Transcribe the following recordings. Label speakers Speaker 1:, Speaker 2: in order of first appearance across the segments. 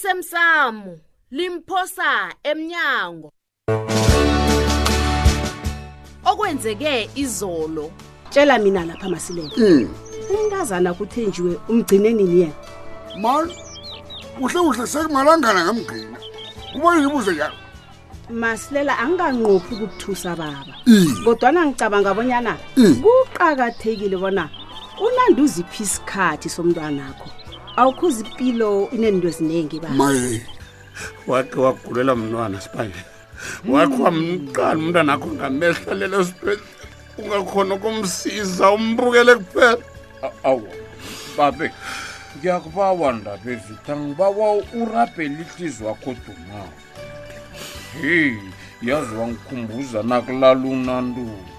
Speaker 1: osemsamo limphosa emnyango okwenzeke izolo
Speaker 2: tshela mina lapha masilela
Speaker 3: Hmm.
Speaker 2: umntazana kuthenjiwe umgcine nini yena
Speaker 3: mani kuhle kuhle sekumalangana ngamgqina kubona ngibuze njalo
Speaker 2: masilela anganqophi ukukuthusa baba
Speaker 3: Iye.
Speaker 2: kodwana ngicabanga abonyana
Speaker 3: Mm.
Speaker 2: kuqakathekile bona unandi uziphi isikhathi somntwanakho awukhuza impilo inento eziningi baba
Speaker 3: maye
Speaker 4: wakhe wagulela mntwana sibanje wakhe wamqala umntwana akho ngamehla lelo sibhedlela ungakhona ukumsiza umbukele kuphela
Speaker 5: A- awa babe ngiyakubawa ndaba evita ngibawa urabhele ihliziyo wakho dumayo heyi yazi wangikhumbuza nakulala unantuti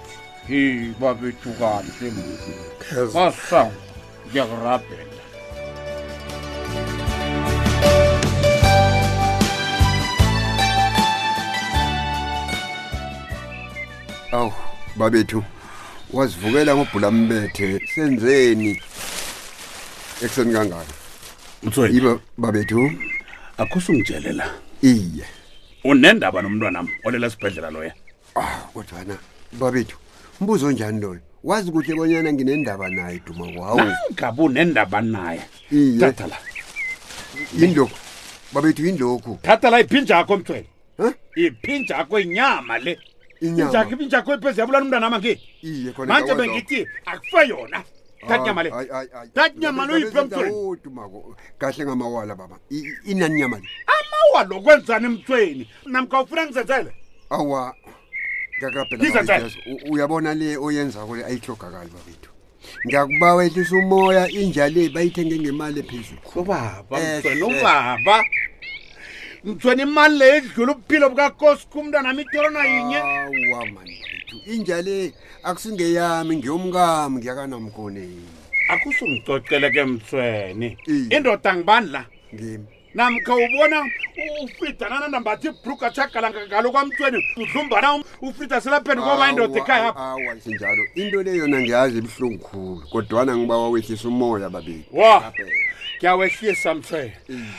Speaker 5: heyi babethu kahle mna. basango ngiyakurabhela
Speaker 6: awu babethu wazivukela ngobhulambethe senzeni ekuseni kangaka
Speaker 4: mtsweni
Speaker 6: yiba babethu
Speaker 4: akho sungitshelela
Speaker 6: iye
Speaker 4: unendaba nomntwanam olela sibhedlela loya
Speaker 6: ah kodwana babethu mbuzo onjani loyo wazi kuhle bonyana nginendaba naye duma kwawo
Speaker 4: nangabe unendaba naye
Speaker 6: Iye.
Speaker 4: thatha la
Speaker 6: yindloku babethu yindloku
Speaker 4: thatha la iphinjakho mtsweni
Speaker 6: Huh?
Speaker 4: iphinjakho inyama le
Speaker 6: Inyama.
Speaker 4: Iphinjakho- iphinjakho iphezi yabulana umntwana amange
Speaker 6: iye
Speaker 4: manje bengithi akufe yona thatha inyama le thatha inyama le uyiphe mtsweni
Speaker 6: mtweni kahle ngamawala baba I- i- inani nyama le
Speaker 4: amawa lo kwenzani mtsweni namka ufuna ngizenzele
Speaker 6: awa ngiyakuraphela
Speaker 4: Liza
Speaker 6: babethu, yazi, u- uyabona le oyenzako le ayihlogakali babethu ngiyakubawa ehlisa umoya inja le bayithenge ngemali ephezulu
Speaker 4: ubaba
Speaker 6: Eh,
Speaker 4: mtsweni
Speaker 6: eh.
Speaker 4: ubaba mtsweni imali leyo idlula ubuphilo bukakosi umntwana ami itorona yinye
Speaker 6: awa mani babethu inja le akusingeyami ngiyomkami ngiyakanamkoneni
Speaker 4: akusungicocele ke mtsweni
Speaker 6: Iye.
Speaker 4: indoda ngibani la
Speaker 6: ngimi
Speaker 4: namkha ubona u- ufrida nanandambathi ibruka chagalangaalo kwamtweni udlumbana ufrida selapheni koba indoda ekhaya apha
Speaker 6: awa sinjalo into le yona ngiyazi ibuhlungu khulu kodwana ngibawa wehlisa umoya babethu
Speaker 4: wa ngiyawehlisa mtweni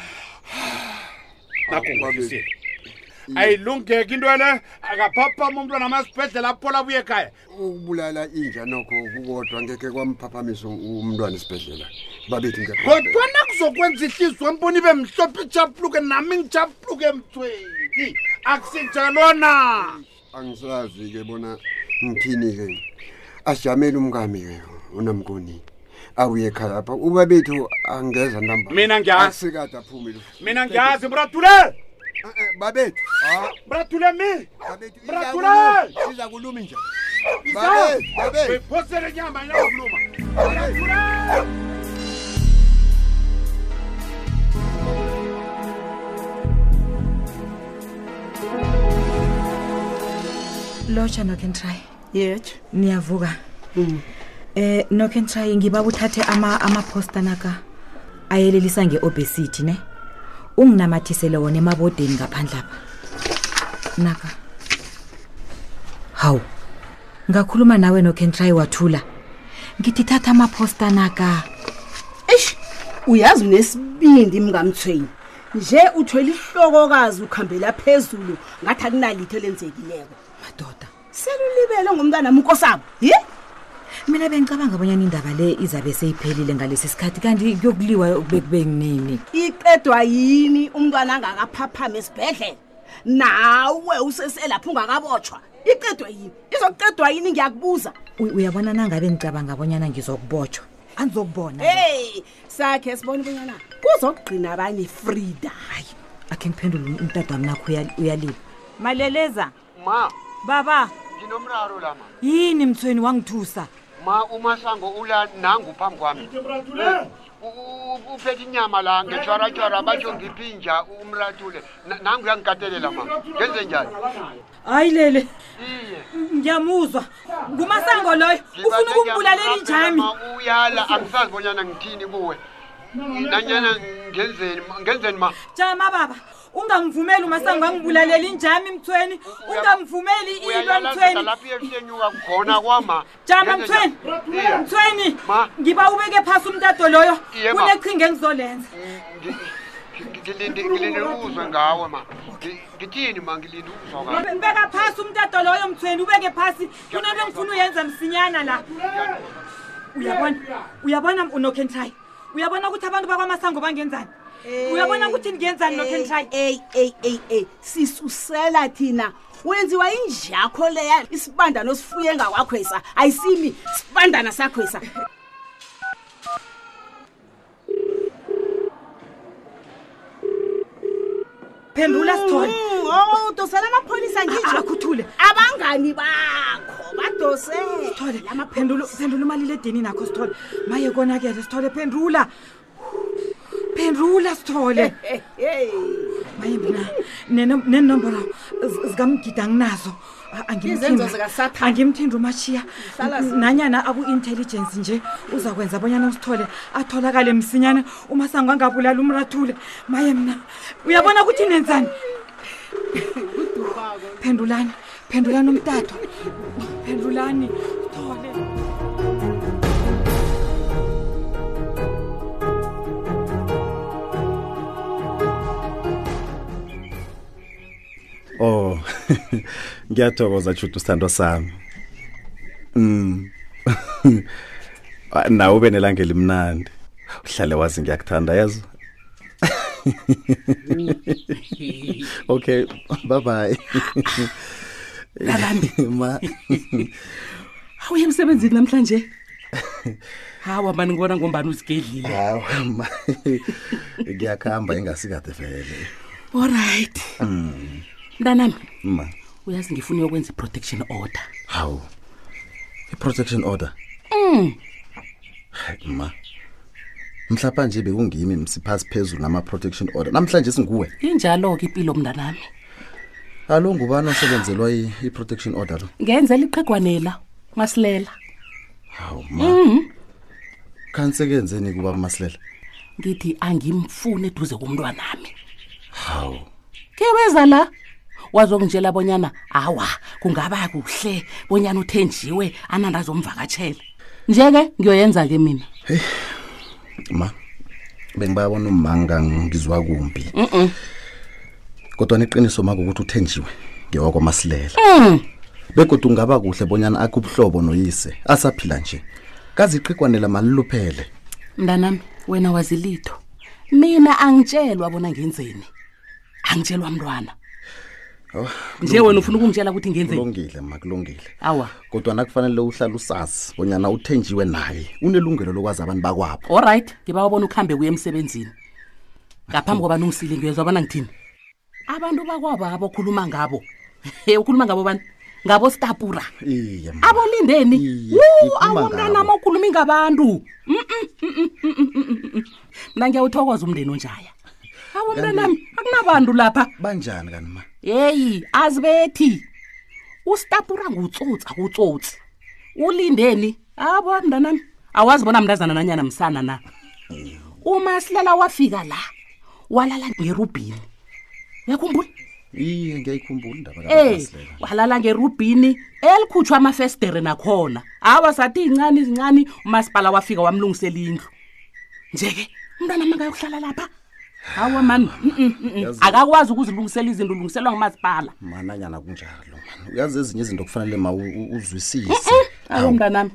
Speaker 4: nakungokisile ayilungeki into ele akaphaphama umntwana amasibhedlela aphola abuye ekhaya
Speaker 6: ukubulala inja nokho kukodwa ngekhe kwamphaphamisa u- umntwana esibhedlela babethu ngiyakurabhela.
Speaker 4: kodwana kuzokwenza ihliziyo mboni bemhlophe ijapuluke nami ngijapuluke mtweni akusinjalona
Speaker 6: angisazi ke bona ngithini ke asijamele umkami ke unamkoni abuye ekhaya apha ubabethu angeza ntamba
Speaker 4: Mina ngiyazi.
Speaker 6: asikade aphume lo
Speaker 4: mina ngiyazi mratule
Speaker 6: Eh, eh, babethu ha
Speaker 4: mratule mi
Speaker 6: babethu
Speaker 4: Mrakula!
Speaker 6: siza kuluma nje
Speaker 4: Isa!
Speaker 6: babethu babethu
Speaker 4: bephosele nyama inakuluma
Speaker 7: lotsha knock and try
Speaker 2: yetsho
Speaker 7: niyavuka eh knock and try ngiba uthathe ama amaposter naka ayelelisa ngeobesity ne unginamathisele wona emabodeni ngaphandle apha naka hawu ngakhuluma nawe knock and try wathula ngithi thatha amaposter naka
Speaker 2: eish uyazi unesibindi mngamthweni nje uthwele ihlokokazi ukuhambela phezulu ngathi akunalitho elenzekileko
Speaker 7: madoda
Speaker 2: selulibele ngomntwana mkosabo ye
Speaker 7: mina bengicabanga abonyana indaba le izabe seyiphelile ngalesi sikhathi kanti kuyokuliwa bekube kunini
Speaker 2: iqedwa yini umntwana angakaphaphama esibhedlela nawe useselapho ungakabotshwa iqedwa yini izokuqedwa yini ngiyakubuza
Speaker 7: U- uyabona nangabe ngicabanga abonyana ngizokubotshwa andizokubona
Speaker 2: heyi sakhe sibone ubonyana kuzokugqina abanye frida hayi
Speaker 7: akhe ngiphendule umtata wami nakho uya- uyalila maleleza
Speaker 6: ma
Speaker 7: baba
Speaker 6: nginomraro lama
Speaker 7: yini mthweni wangithusa
Speaker 6: ma umahlango ula nangu phambi kwami uphethe inyama la ngejwaratshwara batsho ngiphi inja umratule nangu uyangikatelela ma ngenze njani
Speaker 7: hayi lele
Speaker 6: iye
Speaker 7: ngiyamuzwa ngumasango loyo ufuna ukumbulalela ijami
Speaker 6: uyala angisazi bonyana ngithini kuwe nanyana ngenzeni ma- ngenzeni ma
Speaker 7: jama baba ungangivumeli umasango angibulalela injami mthweni ungamvumeli ilwe
Speaker 6: uyayalaza
Speaker 7: mthweni
Speaker 6: lapho iyehlenyuka khona kwama
Speaker 7: jama
Speaker 6: Ngenze njani?
Speaker 7: mthweni
Speaker 6: Iya.
Speaker 7: mthweni
Speaker 6: Ma.
Speaker 7: ngiba ubeke phasi umtado loyo
Speaker 6: Iye, ma.
Speaker 7: kunechinga engizolenza
Speaker 6: Ngi- ngilinde uzwe ngawe ma ngithini ma ngilinde uzwa ka
Speaker 8: beka phasi umtato loyo mthweni ubeke phasi kunento ngifuna uyenza msinyana la uyabona uyabona unokentry uyabona ukuthi abantu bakwamasango bangenzani
Speaker 2: Eh.
Speaker 8: uyabona ukuthi ngenzani nokentry
Speaker 2: eyi eyi eyi eyi eh, sisusela thina wenziwa injakho leya isibandana osifuye ngawakhwesa ayisimi sibandana sakhwesa
Speaker 8: phendula sithole
Speaker 2: Mm.
Speaker 8: mm,
Speaker 2: udosela amapholisa
Speaker 8: Ah, ah, akuthule
Speaker 2: abangani bakho
Speaker 8: sithole
Speaker 2: badosele
Speaker 8: phendula phendula umalile edini nakho sithole maye konakele sithole phendula phendula sithole maye mina neno- nenombolo z- zikamgidi anginazo A- angimthembi.
Speaker 2: Izenzo zikaSathane.
Speaker 8: angimthindi umashiya
Speaker 2: Hlala
Speaker 8: N- nanyana aku-intelligence nje uza kwenza abonyana usithole atholakale msinyane umasango angabulali umrathule maye mna uyabona ukuthi nenzani phendulani phendulani umtato phendulani sithole
Speaker 9: Oh. Ngiyathokoza Judu Sithando sami. Mm. Ah, Nawe ube nelanga elimnandi. Uhlale wazi ngiyakuthanda yazi. okay, bye bye. Ma.
Speaker 10: awuye emsebenzini namhlanje hawa mani ngibona ngombani uzigedlile
Speaker 9: Hawu ma. Ngiyakhamba engasikade vele. Mm.
Speaker 10: olright mntanami
Speaker 9: Ma.
Speaker 10: uyazi ngifuna uyokwenza i-protection order
Speaker 9: Hawu. I-protection order. Mm. Ma. Mhlapa nje bekungimi msiphasi phezulu nama protection order. Namhlanje singuwe.
Speaker 10: injalo-ke impilo mntanami
Speaker 9: Alo ngubani osebenzelwa i- i-protection order lo?
Speaker 10: ngenzela iqhegwanela masilela Mm,
Speaker 9: Hawu ma. Kansekenzeni kuba kumasilela.
Speaker 10: ngithi angimfuni eduze komntwanami
Speaker 9: Hawu.
Speaker 10: ke weza la wazongitshela bonyana awa kungaba kuhle bonyana uthenjiwe ananda azomvakatshela nje-ke ngiyoyenza ke mina
Speaker 9: Ma. Bengibabona umanga ngizwa kumbi. Mhm. Kodwa niqiniso mako ukuthi uthenjiwe ngewa kwamasilela.
Speaker 10: Mm.
Speaker 9: Bekodwa ungaba kuhle bonyana akhe ubuhlobo noyise asaphila nje. Kazi iqhigwanela maliluphele.
Speaker 10: mntanami wena wazilitho mina angitshelwa bona ngenzeni angitshelwa mntwana nje wena ufuna ukungitshela ukuthi ngenzeni
Speaker 9: kulungile makulungile
Speaker 10: awa
Speaker 9: kodwa nakufanele uhlale usazi bonyana uthenjiwe naye unelungelo lokwazi abantu bakwabo
Speaker 10: allright ngiba wabona ukuhambe kuye emsebenzini ngaphambi kobani ungisile ngiyezwa bona ngithini abantu bakwabo abakhuluma ngabo he ukhuluma ngabo bani ngabo stapura
Speaker 9: iye ma.
Speaker 10: abolindeni
Speaker 9: Iye, ngikhuluma
Speaker 10: awomntanami okhulumi ngabantu Mm, mm, mm, mm, mm, mm, mm, mm, mm. mna ngiyawuthokoza umndeni onjaya awomntanami akunabantu lapha
Speaker 9: banjani kani ma
Speaker 10: yeyi azibethi usitapura ngutsotsi akutsotsi ulindeni abo mntanami awazi bona mntazana nanyana msana na uma silala wafika la walala ngerubhini uyakhumbula
Speaker 9: iye ngiyayikhumbula indaba
Speaker 10: Eh,
Speaker 9: kaMasilela.
Speaker 10: walala ngerubhini elikhutshwa amafestere nakhona awa sathi incane izincane umasipala wafika wamlungisela indlu nje-ke umntwana mangayokuhlala lapha mm, hawa mami mm-mm, mm-mm.
Speaker 9: Yazi-
Speaker 10: akakwazi ukuzilungisela izinto ulungiselwa ngumasipala
Speaker 9: ma nanyana kunjalo mani uyazi ezinye izinto kufanele ma u- u- uzwisise
Speaker 10: Eh, awu mntanami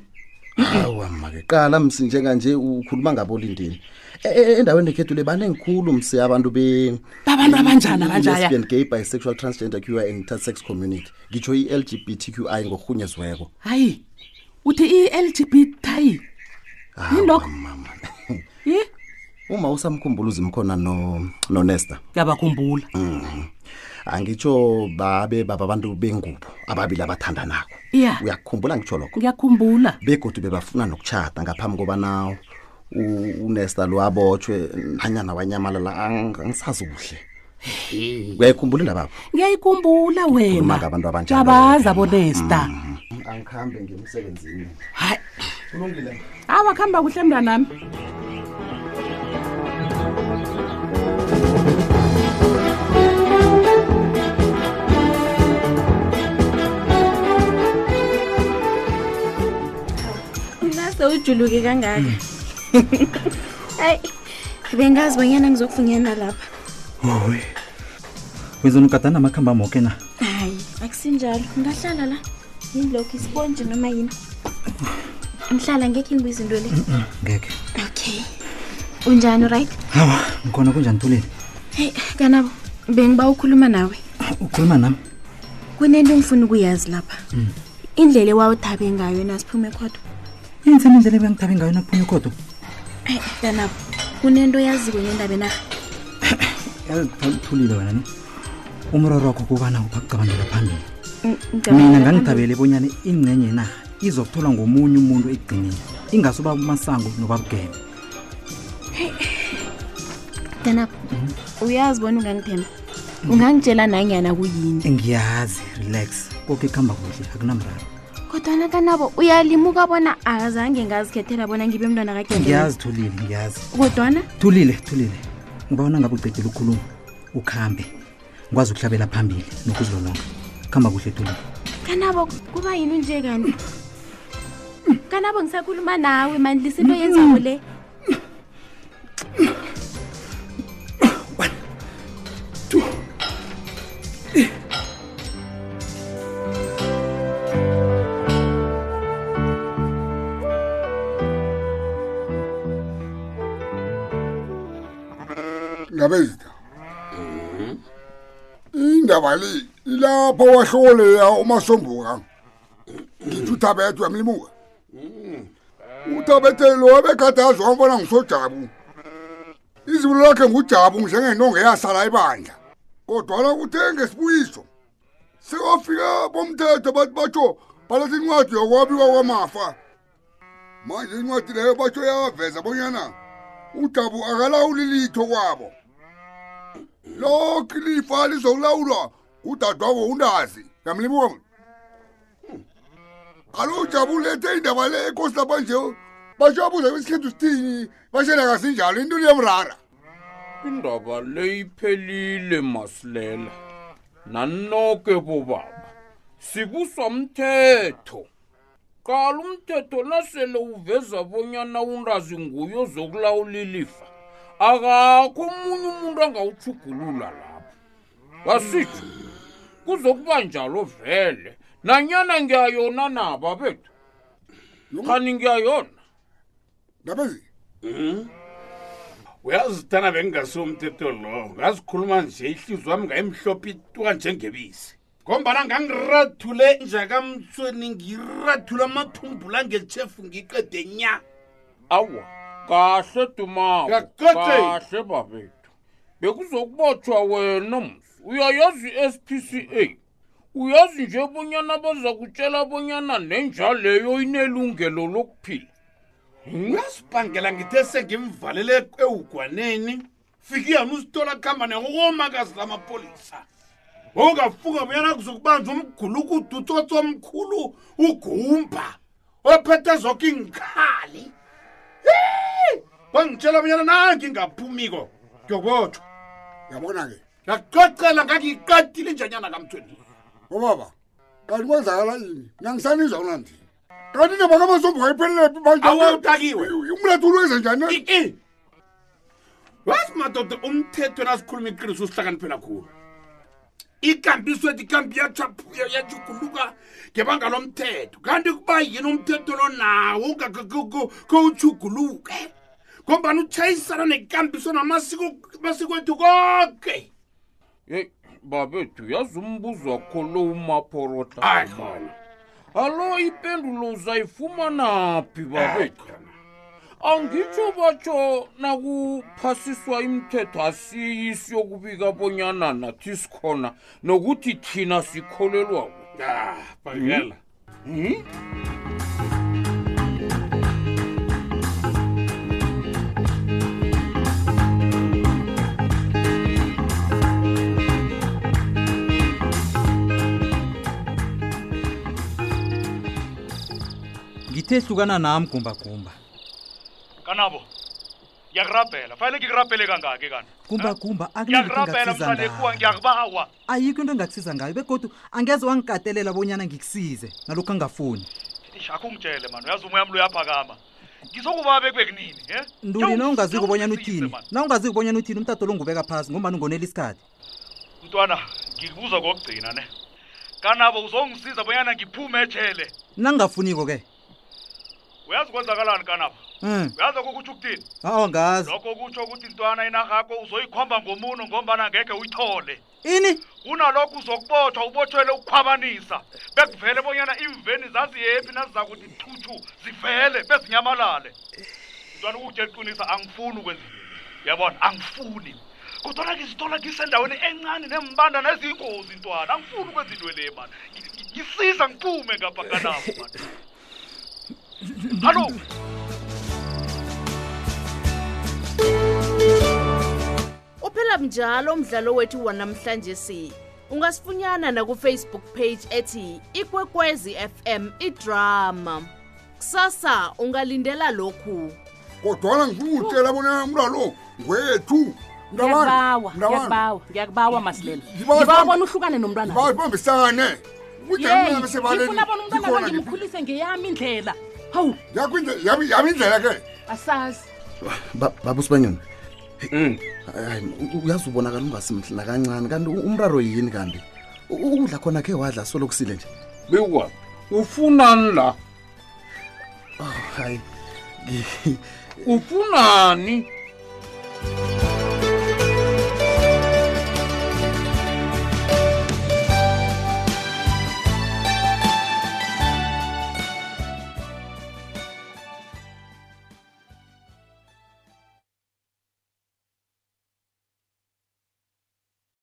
Speaker 9: awa make qala msi njenganje ukhuluma ngabolindeni E- e- endaweni ekhethu le banengikhulu msi abantu be
Speaker 10: babantu abanjani abanjaya
Speaker 9: lesbian gay bisexual transgender qi and intersex community ngitsho i-lgbtqi ngorhunyeziweko
Speaker 10: hayi uthi i-l g b tayi Yindoko.
Speaker 9: mama
Speaker 10: i
Speaker 9: uma usamkhumbula uzimkhona no nonesta
Speaker 10: ngiyabakhumbula
Speaker 9: angitsho babe bababantu bengubo ababili abathandanako
Speaker 10: Ya.
Speaker 9: uyakhumbula ngitsho lokho
Speaker 10: ngiyakhumbula
Speaker 9: begodu bebafuna nokuchata ngaphambi kobana u- unesta lo abotshwe nanyana wanyamalala ang- angisazi kuhle uyayikhumbula indababo
Speaker 10: ngiyayikhumbula wena
Speaker 9: Ngikhuluma ngabantu abanjalo. Mm.
Speaker 10: ngiyabaza bonesta
Speaker 9: angikhambe ngemsebenzini
Speaker 10: hayi
Speaker 9: kulungile
Speaker 10: awakuhamba kuhle mntanami
Speaker 11: mna
Speaker 12: Mm.
Speaker 11: sewujuluke kangaka hayi bengazi bonyana ngizokufunyana lapha owe wezonigadana amakhamba moke na
Speaker 12: hayi akusinjalo ngingahlala la yini lokho isiponje noma yini ngihlala ngekhe ngibuye izinto le
Speaker 11: Mm, ngeke
Speaker 12: okay unjani right
Speaker 11: hawa ngikhona kunjani tuleni
Speaker 12: hey kanabo bengiba ukhuluma nawe
Speaker 11: ukhuluma nami
Speaker 12: kunento engifuna ukuyazi lapha
Speaker 11: Mm.
Speaker 12: indlela ewawuthabe ngayo nasiphume ekhodo
Speaker 11: yenzeni indlela ebengithabe ngayo nakuphuma ikodo
Speaker 12: hey kanabo kunento yaziko nendaba enarha
Speaker 11: yazi thulile wena ne umroro wakho kubana ubakucabangela phambili
Speaker 12: Ng- ngicabanga
Speaker 11: mina
Speaker 12: phambili.
Speaker 11: ngangithabele bonyana ingcenye na izokutholwa ngomunye umuntu ekugcineni ingase uba umasango nobabugeme
Speaker 12: kanabo uyazi bona ungangithemba ungangitshela nanyana kuyini
Speaker 11: ngiyazi relax koke kuhamba kuhle akunamraro
Speaker 12: kodwana kanabo uyalimuka bona azange ngazikhethela bona ngibe mntwana
Speaker 11: ngiyazi
Speaker 12: kagebele
Speaker 11: thulile ngiyazi
Speaker 12: kodwana
Speaker 11: thulile thulile ngibawona ngabe ucedile ukhuluma ukuhambe ngikwazi ukuhlabela phambili nokuzilolonga kuhamba kuhle thulile
Speaker 12: kanabo kuba yini nje kanti kanabo ngisakhuluma nawe mandlisa into yenzako le
Speaker 3: ngabezitha indaba le ilapho wahloleya umasombuka ngithi uthabethwe yamlimuka uthabethe lo wabekhathazwa wambona ngisojabu izulu lakhe ngujabu njengentongo eyasala ibandla kodwana kuthe ngesibuyiso sewafika bomthetho bathi batsho baletha incwadi yokwabiwa kwamafa manje incwadi leyo batsho yaveza bonyana udabu akalawuli litho kwabo lokho ilifa lizokulawulwa udadwabo undazi yamlimuka alo ujabu ulethe indaba le enkosi lapha nje basho abuza besikhethu sithini bashena kasinjalo into liyamrara
Speaker 5: indaba le iphelile masilela nanoke bobaba sibuswa mthetho qala umthetho nasele uveza bonyana undazi nguyo ozokulawula ilifa akakho omunye umuntu angawuthugulula lapho basitsho kuzokuba njalo vele nanyana ngiyayona naba bethu khani ngiyayona
Speaker 3: ndabezi
Speaker 4: Hmm? uyazithana bengingasiwo umthetho lowo ngazikhuluma nje ihliziyo wami ngayimhlophe ituka njengebisi ngombana ngangirathule njakamtsweni ngirathule amathumbula ngechefu ngiqede nya
Speaker 5: awa kahle dumabo
Speaker 4: Ngiyakutjela.
Speaker 5: kahle babethu bekuzokubotshwa wena msi uyayazi i-spca uyazi nje bonyana baza kutshela bonyana nenja leyo inelungelo lokuphila
Speaker 4: uyasibhangela ngithe sengimvalele ewugwaneni fiki yami usitola kuhamba nekokomakazi lamapolisa ngokungafuka buyana kuzokubanza umgulukudu utsotso omkhulu ugumba ophethe zoke ingikhali kwangitshela bonyana nangingaphumiko ngiyokubotshwa
Speaker 3: yabona-ke
Speaker 4: ngakucocela ngangiyiqedile injanyana kamthweni
Speaker 3: obaba kanti kwenzakala ini nangisanizwa kunandini kanti indaba kamasombuka iphelelepi awawutakiwe umlethulu wenze njani
Speaker 4: wazi madoda umthetho nasikhuluma iqiniso usihlakaniphela khulu ikambiso ethi ikambi yajuguluka ngebanga lomthetho kanti kuba yini umthetho lo nawo ungakheujuguluke ngombani utshayisana nekambiso namasiko ethu konke
Speaker 5: yeyi babethu yazi umbuzo wakho lo umaphorota akhona alo ipendulo uzayifumana phi babethu angitsho batsho nakuphasiswa imithetho asiyi siyokubika bonyana nathi sikhona nokuthi thina sikholelwako
Speaker 4: bhangela
Speaker 5: Hmm?
Speaker 11: ngithe hlukana nami gumbagumba
Speaker 13: kanabo ngiyakurabhela fanele ngikurabhele kangaki kanti
Speaker 11: gumbagumba
Speaker 13: ngiyakurabhela
Speaker 11: akunakusiza
Speaker 13: mhlalekuwa ngiyakubawa
Speaker 11: ayikho into engakusiza ngayo begodwa angeze wangikatelela bonyana ngikusize nalokhu angafuni
Speaker 13: akungitshele mani uyazi umoya mlo uyaphakama ngizokubaba ekwekunini eh?
Speaker 11: ntuli nawungaziko bonyana uthini nawungaziko bonyana uthini umtato lo ngubeka phasi ngombani ungonela isikhathi
Speaker 13: mntwana ngikubuza kokugcina ne kanabo uzongisiza bonyana ngiphume ejele
Speaker 11: nangingafuniko-ke
Speaker 13: uyazi kwenzakalani kanabo
Speaker 11: um
Speaker 13: uyazi kokutsho ukuthini
Speaker 11: awa ngazi
Speaker 13: lokho kutsho ukuthi intwana inahakho uzoyikhomba ngomuno ngombana ngekhe uyithole
Speaker 11: ini
Speaker 13: kunalokho uzokubotshwa ubotshwele ukukhwabanisa bekuvele bonyana imveni zaziyephi naziza kuthi thuthu zivele bezinyamalale mntwana ukutya iqinisa angifuni ukwenza yabona angifuni kodwana ngizithola ngisendaweni encane nembanda neziyingozi ntwana angifuni ukwenza into le mani ngisiza ngiphume ngapha kanabo mani hallo
Speaker 1: uphela njalo umdlalo wethu wanamhlanje si ungasifunyana na ku Facebook page ethi ikwekwezi fm idrama kusasa ungalindela lokhu
Speaker 3: kodwana ngifuna ukutshela bona umlalo ngwethu
Speaker 10: ngiyakubawa ngiyakubawa ngiyakubawa masilela
Speaker 3: Ngibawa
Speaker 10: ngibawa
Speaker 3: sibambe-
Speaker 10: bona uhlukane nomntwana
Speaker 3: babambisane
Speaker 10: Yeyi, ngifuna bona umntwana bangimkhulise ngeyami indlela hawu
Speaker 3: yami indlela ke
Speaker 10: asazi
Speaker 9: Ba- baba usibanyoni
Speaker 5: Mm.
Speaker 9: hayi uyazi ubonakala ungasimhle nakancane kanti u- umraro yini kanti U- ukudla khona khe wadla solokusile nje
Speaker 5: bekwa ufunani la
Speaker 9: Oh, hayi
Speaker 5: ufunani